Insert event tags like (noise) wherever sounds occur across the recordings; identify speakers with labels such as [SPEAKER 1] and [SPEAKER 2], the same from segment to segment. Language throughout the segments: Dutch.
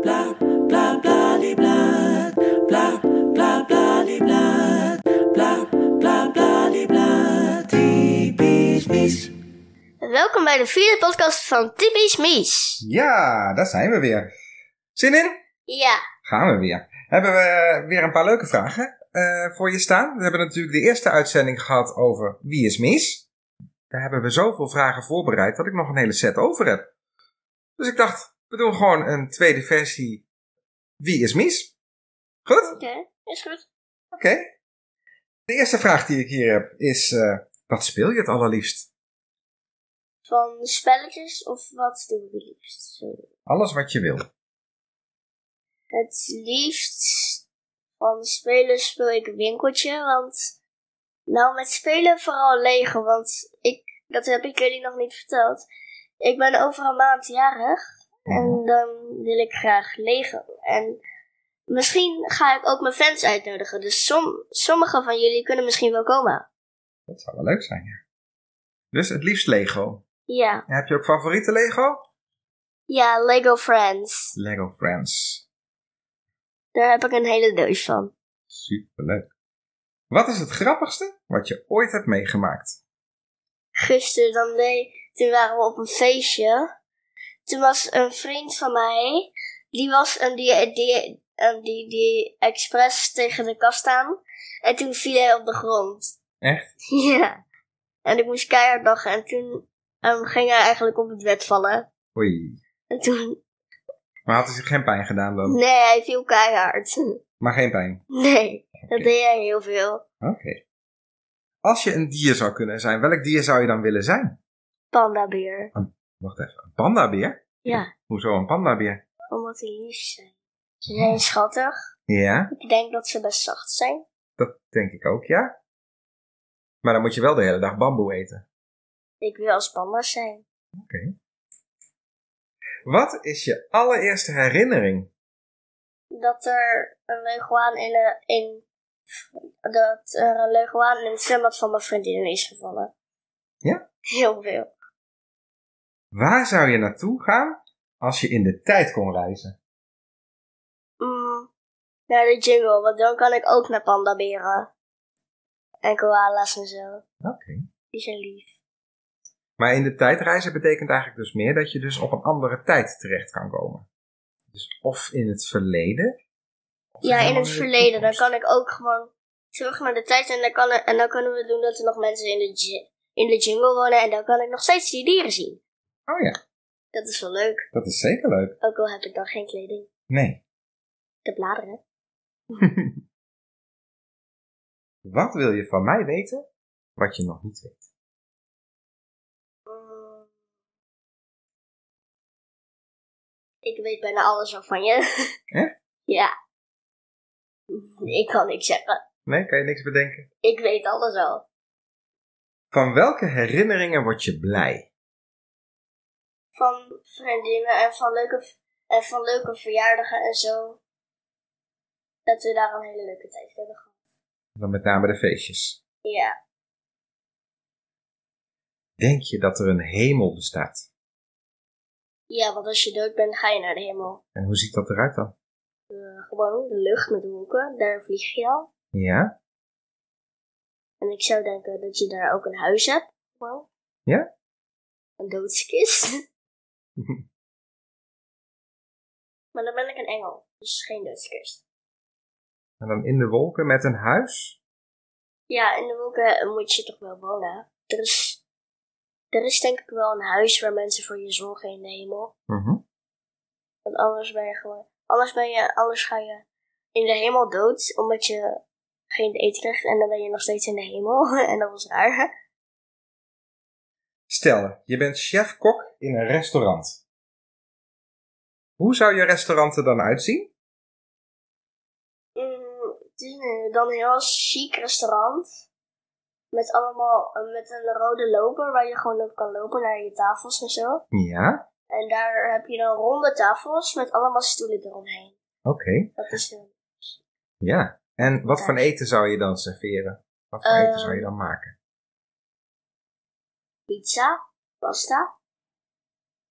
[SPEAKER 1] bla bla bla li bla bla bla bla li bla bla bla bla li bla typisch mis.
[SPEAKER 2] Welkom bij de vierde podcast van Typisch Mies.
[SPEAKER 3] Ja, daar zijn we weer. Zin in?
[SPEAKER 2] Ja,
[SPEAKER 3] Gaan we weer. Hebben we weer een paar leuke vragen eh, voor je staan. We hebben natuurlijk de eerste uitzending gehad over Wie is Mies? Daar hebben we zoveel vragen voorbereid dat ik nog een hele set over heb. Dus ik dacht, we doen gewoon een tweede versie Wie is Mies? Goed?
[SPEAKER 2] oké, is goed.
[SPEAKER 3] Oké. De eerste vraag die ik hier heb is, eh, wat speel je het allerliefst?
[SPEAKER 2] Van spelletjes of wat doen we liefst? Zo.
[SPEAKER 3] Alles wat je wil.
[SPEAKER 2] Het liefst van spelen speel ik winkeltje, want... Nou, met spelen vooral Lego, want ik, dat heb ik jullie nog niet verteld. Ik ben over een maand jarig en dan wil ik graag Lego. En misschien ga ik ook mijn fans uitnodigen, dus som, sommigen van jullie kunnen misschien wel komen.
[SPEAKER 3] Dat zou wel leuk zijn, ja. Dus het liefst Lego.
[SPEAKER 2] Ja.
[SPEAKER 3] Heb je ook favoriete Lego?
[SPEAKER 2] Ja, Lego Friends.
[SPEAKER 3] Lego Friends.
[SPEAKER 2] Daar heb ik een hele doos van.
[SPEAKER 3] Superleuk. Wat is het grappigste wat je ooit hebt meegemaakt?
[SPEAKER 2] Gisteren dan deed, toen waren we op een feestje. Toen was een vriend van mij, die was een die, die, een die, die expres tegen de kast aan. En toen viel hij op de grond.
[SPEAKER 3] Echt?
[SPEAKER 2] (laughs) Ja. En ik moest keihard lachen en toen ehm, ging hij eigenlijk op het bed vallen.
[SPEAKER 3] Oei.
[SPEAKER 2] En toen,
[SPEAKER 3] Maar had hij zich geen pijn gedaan dan?
[SPEAKER 2] nee, hij viel keihard. (laughs)
[SPEAKER 3] Maar geen pijn.
[SPEAKER 2] Nee, dat deed hij heel veel.
[SPEAKER 3] Oké. Als je een dier zou kunnen zijn, welk dier zou je dan willen zijn?
[SPEAKER 2] Pandabeer.
[SPEAKER 3] Wacht even, een pandabeer?
[SPEAKER 2] Ja,
[SPEAKER 3] Hoezo een pandabeer?
[SPEAKER 2] omdat hij lief zijn. Ze zijn schattig.
[SPEAKER 3] Ja,
[SPEAKER 2] Ik denk dat ze best zacht zijn.
[SPEAKER 3] dat denk ik ook, ja. Maar dan moet je wel de hele dag bamboe eten.
[SPEAKER 2] Ik wil als panda zijn.
[SPEAKER 3] Wat is je allereerste herinnering?
[SPEAKER 2] Dat er een leguaan in de, in, dat er een leguaan in het zwembad van mijn vriendin is gevallen.
[SPEAKER 3] Ja?
[SPEAKER 2] Heel veel.
[SPEAKER 3] Waar zou je naartoe gaan als je in de tijd kon reizen?
[SPEAKER 2] Mm, naar de jungle, want dan kan ik ook naar pandaberen. En koala's en zo.
[SPEAKER 3] Oké.
[SPEAKER 2] Die zijn lief.
[SPEAKER 3] Maar in de tijdreizen betekent eigenlijk dus meer dat je dus op een andere tijd terecht kan komen. Dus of in het verleden. of
[SPEAKER 2] Ja, in
[SPEAKER 3] helemaal
[SPEAKER 2] het
[SPEAKER 3] de
[SPEAKER 2] verleden, dan
[SPEAKER 3] toekomst.
[SPEAKER 2] kan ik ook gewoon terug naar de tijd. En dan, kan, en dan kunnen we doen dat er nog mensen in de, ju- in de jungle wonen. En dan kan ik nog steeds die dieren zien.
[SPEAKER 3] Oh ja,
[SPEAKER 2] Dat is wel leuk.
[SPEAKER 3] dat is zeker leuk.
[SPEAKER 2] Ook al heb ik dan geen kleding.
[SPEAKER 3] Nee.
[SPEAKER 2] De bladeren.
[SPEAKER 3] Wat wil je van mij weten wat je nog niet weet?
[SPEAKER 2] Ik weet bijna alles al van je. (laughs)
[SPEAKER 3] Echt?
[SPEAKER 2] Ja. Ik kan niks zeggen.
[SPEAKER 3] Nee, kan je niks bedenken?
[SPEAKER 2] Ik weet alles al.
[SPEAKER 3] Van welke herinneringen word je blij?
[SPEAKER 2] Van vriendinnen en van leuke, v- en van leuke verjaardagen en zo. Dat we daar een hele leuke tijd hebben gehad.
[SPEAKER 3] Dan met name de feestjes.
[SPEAKER 2] Ja.
[SPEAKER 3] Denk je dat er een hemel bestaat?
[SPEAKER 2] Ja, want als je dood bent, ga je naar de hemel.
[SPEAKER 3] En hoe ziet dat eruit dan?
[SPEAKER 2] Eh, gewoon de lucht met wolken, daar vlieg je al.
[SPEAKER 3] Ja?
[SPEAKER 2] En ik zou denken dat je daar ook een huis hebt. Gewoon.
[SPEAKER 3] Ja?
[SPEAKER 2] Een doodskist. Maar dan ben ik een engel, dus geen doodskist.
[SPEAKER 3] En dan in de wolken met een huis?
[SPEAKER 2] Ja, in de wolken eh, moet je toch wel wonen. Er is, er is denk ik wel een huis waar mensen voor je zorgen in de hemel.
[SPEAKER 3] Mhm.
[SPEAKER 2] Want anders ben je gewoon, anders ben je, anders ga je in de hemel dood, omdat je geen eten krijgt en dan ben je nog steeds in de hemel. (laughs) En dat was raar.
[SPEAKER 3] Stel, je bent chef-kok in een restaurant. Hoe zou je restaurant er dan uitzien?
[SPEAKER 2] Mm, het is een- dan een heel chic restaurant. Met allemaal, eh, met een rode loper waar je gewoon op kan lopen naar je tafels en zo.
[SPEAKER 3] Ja,
[SPEAKER 2] En daar heb je dan ronde tafels met allemaal stoelen eromheen.
[SPEAKER 3] oké.
[SPEAKER 2] Dat is eh, een
[SPEAKER 3] Ja. En wat voor eten zou je dan serveren? Wat voor
[SPEAKER 2] Ehm.
[SPEAKER 3] eten zou je dan maken?
[SPEAKER 2] pizza, pasta,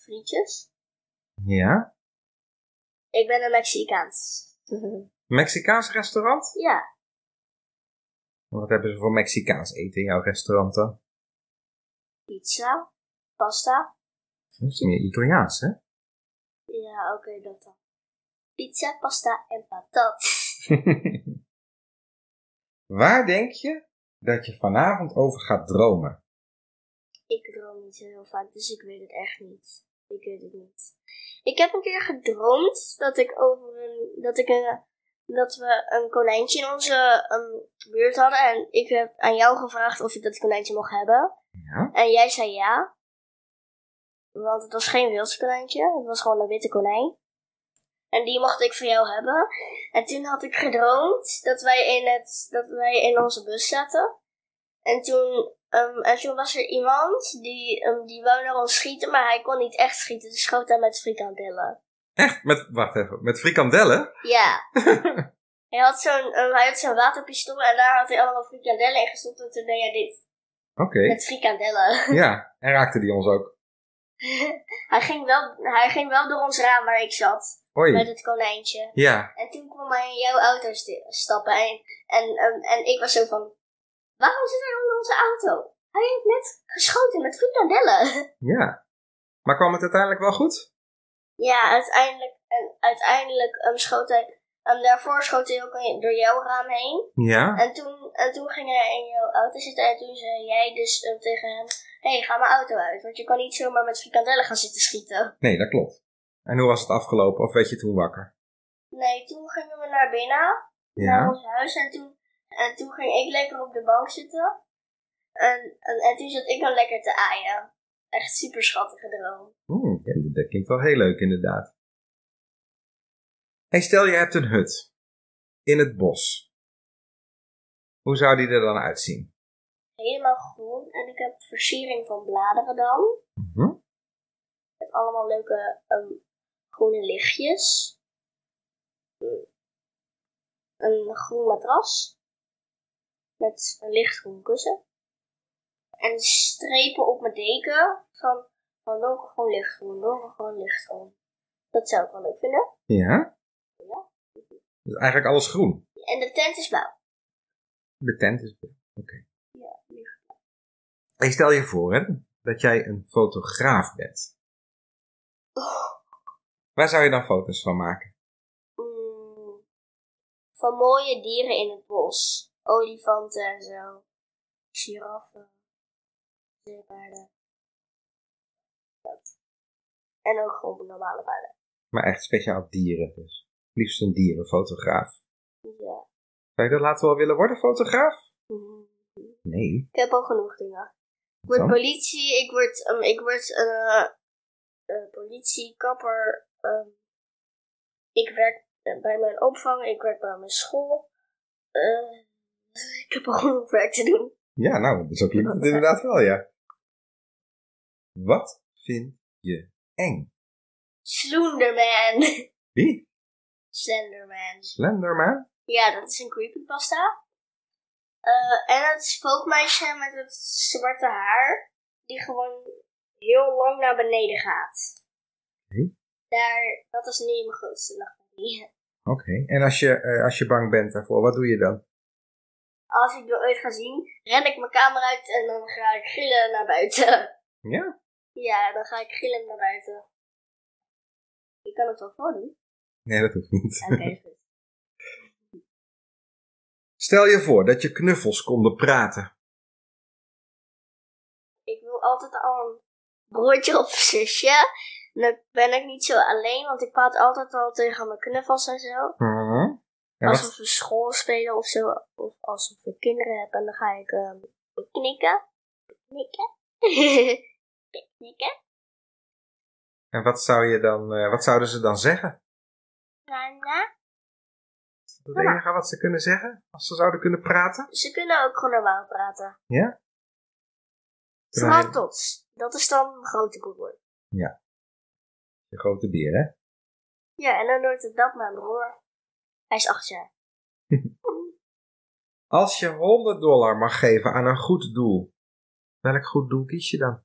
[SPEAKER 2] frietjes.
[SPEAKER 3] Ja.
[SPEAKER 2] Ik ben een Mexicaans.
[SPEAKER 3] Mexicaans restaurant?
[SPEAKER 2] ja,
[SPEAKER 3] Wat hebben ze voor Mexicaans eten in jouw restaurant dan?
[SPEAKER 2] pizza, pasta.
[SPEAKER 3] Dat is meer Italiaans, hè? (laughs)
[SPEAKER 2] Ja, oké, dat dan. Pizza, pasta en patat.
[SPEAKER 3] Waar denk je dat je vanavond over gaat dromen?
[SPEAKER 2] Ik droom niet zo heel vaak, dus ik weet het echt niet. Ik weet het niet. Ik heb een keer gedroomd dat ik over een, dat ik een, dat we een konijntje in onze ehm, buurt hadden. En ik heb aan jou gevraagd of ik dat konijntje mocht hebben.
[SPEAKER 3] Ja.
[SPEAKER 2] En jij zei ja. Want het was geen wild konijntje, het was gewoon een witte konijn. En die mocht ik voor jou hebben. En toen had ik gedroomd dat wij in, het, dat wij in onze bus zaten. En toen, ehm, en toen was er iemand die, ehm, die wou naar ons schieten, maar hij kon niet echt schieten. Dus schoot hij met frikandellen.
[SPEAKER 3] Echt? Met, wacht even, met frikandellen?
[SPEAKER 2] Ja. hij had zo'n ehm, hij had zo'n waterpistool en daar had hij allemaal frikandellen in gestopt. En toen deed hij dit.
[SPEAKER 3] Oké.
[SPEAKER 2] (laughs) Met frikandellen.
[SPEAKER 3] Ja, en raakte die ons ook.
[SPEAKER 2] hij, ging wel, hij ging wel door ons raam waar ik zat. Met
[SPEAKER 3] Hoi.
[SPEAKER 2] het konijntje.
[SPEAKER 3] Ja.
[SPEAKER 2] En toen kwam hij in jouw auto sti- stappen. En, en, ehm, en ik was zo van... Waarom zit hij onder onze auto? Hij heeft net geschoten met frikandellen.
[SPEAKER 3] Ja. Maar kwam het uiteindelijk wel goed?
[SPEAKER 2] Ja, uiteindelijk, en uiteindelijk ehm, schoot hij. ehm, daarvoor schoot hij ook in- door jouw raam heen.
[SPEAKER 3] Ja.
[SPEAKER 2] En toen, en toen ging hij in jouw auto zitten. En toen zei jij dus ehm, tegen hem: Hé, hey, ga mijn auto uit. Want je kan niet zomaar met frikandellen gaan zitten schieten.
[SPEAKER 3] Nee, dat klopt. En hoe was het afgelopen? Of werd je toen wakker?
[SPEAKER 2] Nee, toen gingen we naar binnen, naar ons huis. En toen, en toen ging ik lekker op de bank zitten. En, en, en toen zat ik dan lekker te aaien. Echt super schattige droom.
[SPEAKER 3] Hmm, ja, dat klinkt wel heel leuk inderdaad. Hey, stel je hebt een hut. In het bos. Hoe zou die er dan uitzien?
[SPEAKER 2] Helemaal groen. En ik heb versiering van bladeren dan.
[SPEAKER 3] Mhm.
[SPEAKER 2] Met allemaal leuke ehm, groene lichtjes. Een groen matras. Met een lichtgroen kussen. En strepen op mijn deken van, van donkergroen lichtgroen, donkergroen lichtgroen. Dat zou ik wel leuk vinden.
[SPEAKER 3] Ja? Dus eigenlijk alles groen.
[SPEAKER 2] En de tent is blauw.
[SPEAKER 3] De tent is Oké.
[SPEAKER 2] Ja, licht.
[SPEAKER 3] Hey, stel je voor hè, dat jij een fotograaf bent. Waar zou je dan foto's van maken?
[SPEAKER 2] Mm. Van mooie dieren in het bos. Olifanten en zo. Giraffen. Zeepaarden. Dat. En ook gewoon normale paarden.
[SPEAKER 3] Maar echt speciaal dieren dus. Liefst een dierenfotograaf.
[SPEAKER 2] Dus Ja.
[SPEAKER 3] Zou je dat later wel willen worden, fotograaf? Nee.
[SPEAKER 2] Ik heb al genoeg dingen. Ik word
[SPEAKER 3] Dan?
[SPEAKER 2] politie, ik word, ehm, ik word eh, eh, politie, kapper. ehm, ik werk eh, bij mijn opvang, ik werk bij mijn school. Eh, ik heb al genoeg werk te doen.
[SPEAKER 3] Ja, nou, zo klinkt het inderdaad wel, ja. Wat vind je eng?
[SPEAKER 2] Sloenderman.
[SPEAKER 3] Wie?
[SPEAKER 2] (laughs) Slenderman.
[SPEAKER 3] Slenderman?
[SPEAKER 2] Ja, dat is een creepypasta. Eh en het spookmeisje met het zwarte haar, die gewoon heel lang naar beneden gaat.
[SPEAKER 3] Hm?
[SPEAKER 2] Daar, dat is niet mijn grootste nachtmerrie.
[SPEAKER 3] Oké. En als je, eh, als je bang bent daarvoor, wat doe je dan?
[SPEAKER 2] Als ik er ooit ga zien, ren ik mijn kamer uit en dan ga ik gillen naar buiten. (laughs)
[SPEAKER 3] Ja?
[SPEAKER 2] Ja, dan ga ik gillen naar buiten. Je kan het wel voordoen.
[SPEAKER 3] Nee, dat hoeft niet.
[SPEAKER 2] Oké,
[SPEAKER 3] (laughs)
[SPEAKER 2] (laughs) goed.
[SPEAKER 3] Stel je voor dat je knuffels konden praten.
[SPEAKER 2] Ik wil altijd al een broertje of zusje. En Dan ben ik niet zo alleen, want ik praat altijd al tegen mijn knuffels en zo.
[SPEAKER 3] Mhm. En wat-
[SPEAKER 2] Alsof we school spelen of zo. Of alsof we kinderen hebben. En dan ga ik ehm, knikken. (laughs) Knikken. knikken.
[SPEAKER 3] En wat, zou je dan, eh, wat zouden ze dan zeggen?
[SPEAKER 2] Nana.
[SPEAKER 3] Is dat het
[SPEAKER 2] Ja.
[SPEAKER 3] enige wat ze kunnen zeggen? Als ze zouden kunnen praten?
[SPEAKER 2] Ze kunnen ook gewoon normaal praten.
[SPEAKER 3] Ja?
[SPEAKER 2] Vooral tots. Dat is dan mijn grote broer.
[SPEAKER 3] De grote beer, hè?
[SPEAKER 2] Ja, en dan wordt het dat mijn broer. Hij is acht jaar.
[SPEAKER 3] Als je 100 dollar mag geven aan een goed doel, welk goed doel kies je dan?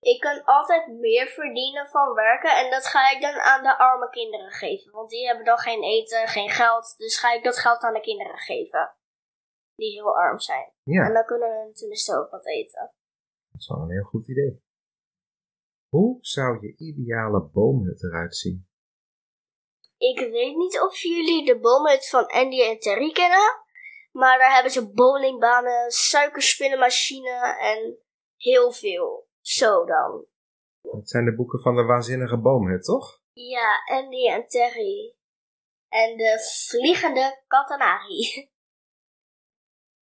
[SPEAKER 2] ik kan altijd meer verdienen van werken en dat ga ik dan aan de arme kinderen geven. Want die hebben dan geen eten, geen geld, dus ga ik dat geld aan de kinderen geven. Die heel arm zijn.
[SPEAKER 3] Ja,
[SPEAKER 2] En dan kunnen hun tenminste ook wat eten.
[SPEAKER 3] dat is wel een heel goed idee. Hoe zou je ideale boomhut eruit zien?
[SPEAKER 2] Ik weet niet of jullie de boomhut van Andy en Terry kennen. Maar daar hebben ze bowlingbanen, suikerspinnenmachine en heel veel. Zo dan.
[SPEAKER 3] Dat zijn de boeken van de waanzinnige boomhut, toch?
[SPEAKER 2] Ja, Andy en Terry. En de vliegende (laughs) katanari.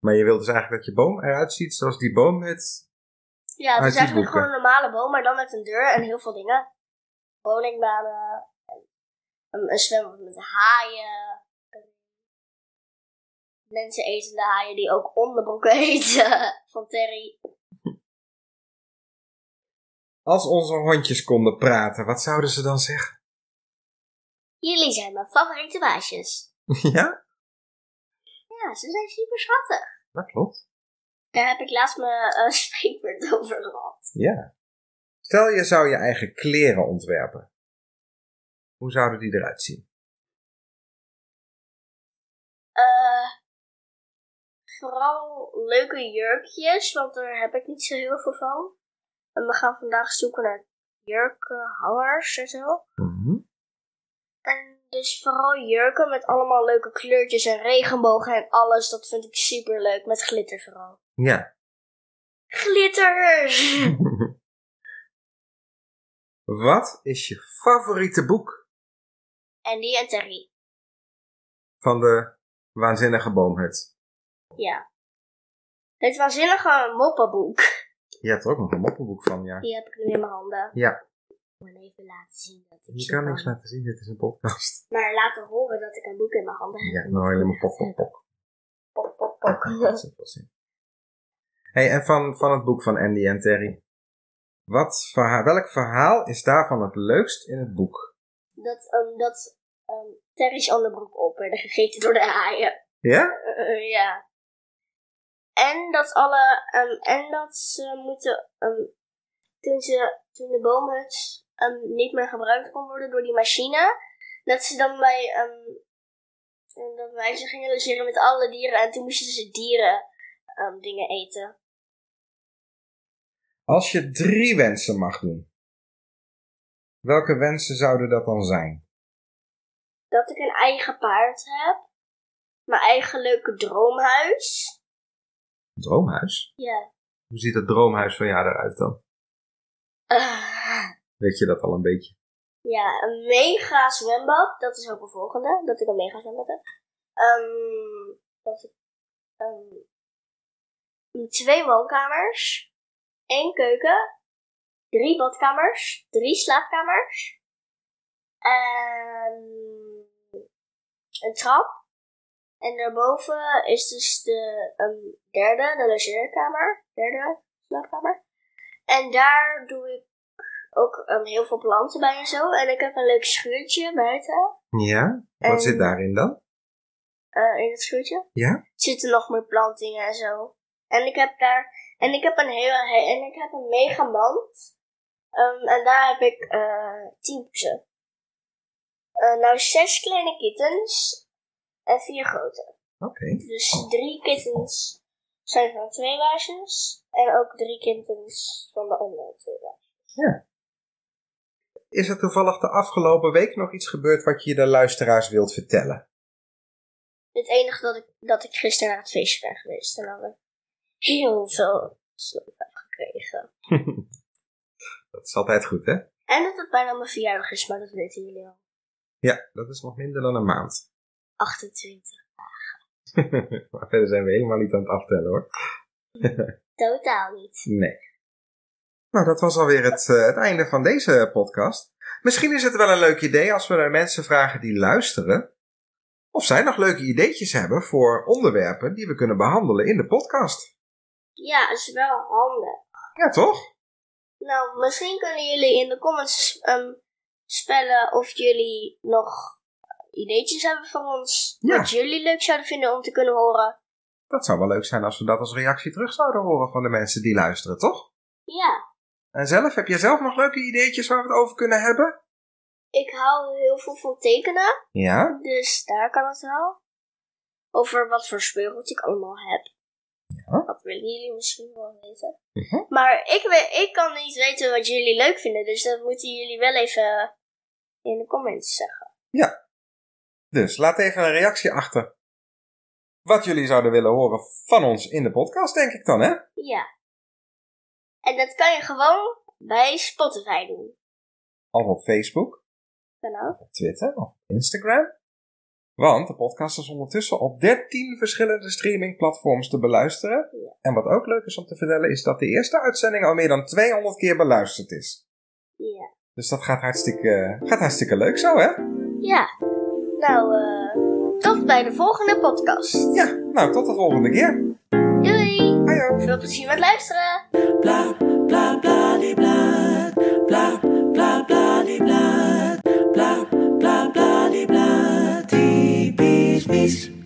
[SPEAKER 3] Maar je wilt dus eigenlijk dat je boom eruit ziet zoals die boomhut.
[SPEAKER 2] Ja, het
[SPEAKER 3] Uit
[SPEAKER 2] is
[SPEAKER 3] die
[SPEAKER 2] eigenlijk
[SPEAKER 3] boeken.
[SPEAKER 2] gewoon een normale boom, maar dan met een deur en heel veel dingen. Bowlingbanen, en een, een zwembad met haaien. en Mensen etende haaien die ook onderbroeken (laughs) eten van Terry.
[SPEAKER 3] Als onze hondjes konden praten, wat zouden ze dan zeggen? (laughs)
[SPEAKER 2] Jullie zijn mijn favoriete baasjes.
[SPEAKER 3] ja,
[SPEAKER 2] Ja, ze zijn super schattig.
[SPEAKER 3] dat klopt.
[SPEAKER 2] Daar heb ik laatst mijn eh, (laughs) spreekwoord over gehad.
[SPEAKER 3] Ja. Stel je zou je eigen kleren ontwerpen. Hoe zouden die eruit zien?
[SPEAKER 2] Eh, vooral leuke jurkjes, want daar heb ik niet zo heel veel van. En we gaan vandaag zoeken naar jurkenhangers en zo. En dus vooral jurken met allemaal leuke kleurtjes en regenbogen en alles. Dat vind ik super leuk, met glitter vooral.
[SPEAKER 3] Ja.
[SPEAKER 2] Glitter!
[SPEAKER 3] (laughs) wat is je favoriete boek
[SPEAKER 2] Andy en Terry.
[SPEAKER 3] van de waanzinnige boomhut?
[SPEAKER 2] Ja. Het waanzinnige moppenboek.
[SPEAKER 3] Je hebt er ook nog een moppenboek van, ja.
[SPEAKER 2] Die heb ik nu in mijn handen.
[SPEAKER 3] Ja.
[SPEAKER 2] Ik moet even laten zien dat ik
[SPEAKER 3] Je
[SPEAKER 2] ze
[SPEAKER 3] kan
[SPEAKER 2] kan.
[SPEAKER 3] niks laten zien, dit is een podcast.
[SPEAKER 2] Maar laten horen dat ik een boek in mijn handen heb.
[SPEAKER 3] Ja, nou helemaal pop, pop, pop.
[SPEAKER 2] Pok, pok,
[SPEAKER 3] Dat
[SPEAKER 2] pok.
[SPEAKER 3] is wel zin. Hey, en van, van het boek van Andy en Terry. Wat verha- welk verhaal is daarvan het leukst in het boek?
[SPEAKER 2] Dat, ehm dat ehm Terry's onderbroek op werden gegeten door de haaien.
[SPEAKER 3] Ja?
[SPEAKER 2] Eh, ja. En dat alle... ehm, en dat ze moeten... ehm, toen, ze, toen de boomhut ehm, niet meer gebruikt kon worden door die machine... Dat ze dan bij... ehm dat meisje gingen logeren met alle dieren. En toen moesten ze dieren ehm, dingen eten.
[SPEAKER 3] Als je drie wensen mag doen, welke wensen zouden dat dan zijn?
[SPEAKER 2] dat ik een eigen paard heb. Mijn eigen leuke droomhuis.
[SPEAKER 3] Een droomhuis?
[SPEAKER 2] Ja.
[SPEAKER 3] Hoe ziet dat droomhuis van jou eruit dan?
[SPEAKER 2] Ah,
[SPEAKER 3] Weet je dat al een beetje?
[SPEAKER 2] ja, een mega zwembad. Dat is ook een volgende. Dat ik een mega zwembad heb. Ehm, dat ik, ehm, twee woonkamers. één keuken. Drie badkamers. Drie slaapkamers. En een trap. En daarboven is dus de ehm, derde, de logeerkamer. Derde slaapkamer. En daar doe ik ook ehm, heel veel planten bij en zo. En ik heb een leuk schuurtje buiten.
[SPEAKER 3] Ja? Wat
[SPEAKER 2] En-
[SPEAKER 3] zit daarin dan?
[SPEAKER 2] eh, in het schuurtje.
[SPEAKER 3] Ja?
[SPEAKER 2] Zitten nog meer plantingen en zo. En ik heb daar. En ik heb een hele. he- En ik heb een mega mand. Ehm, en daar heb ik eh tien poezen. Eh, nou, zes kleine kittens. En vier grote.
[SPEAKER 3] Oké.
[SPEAKER 2] Dus drie kittens zijn van twee baasjes. En ook drie kittens van de andere twee baasjes.
[SPEAKER 3] Is er toevallig de afgelopen week nog iets gebeurd wat je de luisteraars wilt vertellen?
[SPEAKER 2] Het enige dat ik, dat ik gisteren naar het feestje ben geweest. En dan heb ik heel veel snoep heb gekregen.
[SPEAKER 3] (laughs) Dat is altijd goed, hè?
[SPEAKER 2] En dat het bijna mijn verjaardag is, maar dat weten jullie al.
[SPEAKER 3] Ja, dat is nog minder dan een maand. (laughs)
[SPEAKER 2] 28.
[SPEAKER 3] maar verder zijn we helemaal niet aan het aftellen hoor.
[SPEAKER 2] Totaal niet.
[SPEAKER 3] Nee. Nou, dat was alweer het, eh, het einde van deze podcast. Misschien is het wel een leuk idee als we naar mensen vragen die luisteren. Of zij nog leuke ideetjes hebben voor onderwerpen die we kunnen behandelen in de podcast.
[SPEAKER 2] Ja, is wel handig.
[SPEAKER 3] Ja, toch?
[SPEAKER 2] Nou, misschien kunnen jullie in de comments ehm, spellen of jullie nog eh, ideetjes hebben voor ons.
[SPEAKER 3] Ja.
[SPEAKER 2] Wat jullie leuk zouden vinden om te kunnen horen.
[SPEAKER 3] Dat zou wel leuk zijn als we dat als reactie terug zouden horen van de mensen die luisteren, toch?
[SPEAKER 2] Ja,
[SPEAKER 3] En zelf, heb jij zelf nog leuke ideetjes waar we het over kunnen hebben?
[SPEAKER 2] Ik hou heel veel van tekenen,
[SPEAKER 3] Ja,
[SPEAKER 2] dus daar kan het wel. Over wat voor speelgoed ik allemaal heb.
[SPEAKER 3] Ja.
[SPEAKER 2] Dat willen jullie misschien wel weten.
[SPEAKER 3] Mhm.
[SPEAKER 2] Maar ik, we- ik kan niet weten wat jullie leuk vinden, dus dat moeten jullie wel even in de comments zeggen.
[SPEAKER 3] dus laat even een reactie achter. Wat jullie zouden willen horen van ons in de podcast, denk ik dan, hè?
[SPEAKER 2] Ja. En dat kan je gewoon bij Spotify doen.
[SPEAKER 3] Of op Facebook,
[SPEAKER 2] Kanaal.
[SPEAKER 3] op Twitter of op Instagram. Want de podcast is ondertussen op 13 verschillende streamingplatforms te beluisteren. En wat ook leuk is om te vertellen, is dat de eerste uitzending al meer dan 200 keer beluisterd is.
[SPEAKER 2] Ja.
[SPEAKER 3] Dus dat gaat hartstikke, gaat hartstikke leuk zo, hè?
[SPEAKER 2] Ja. Nou, eh, tot bij de volgende podcast.
[SPEAKER 3] Ja, nou, tot de volgende keer.
[SPEAKER 2] Doei!
[SPEAKER 3] Hoi, hoi.
[SPEAKER 2] Veel plezier met luisteren!
[SPEAKER 1] bla bla bla di bla bla bla bla di bla bla bla bla di bla typisch mis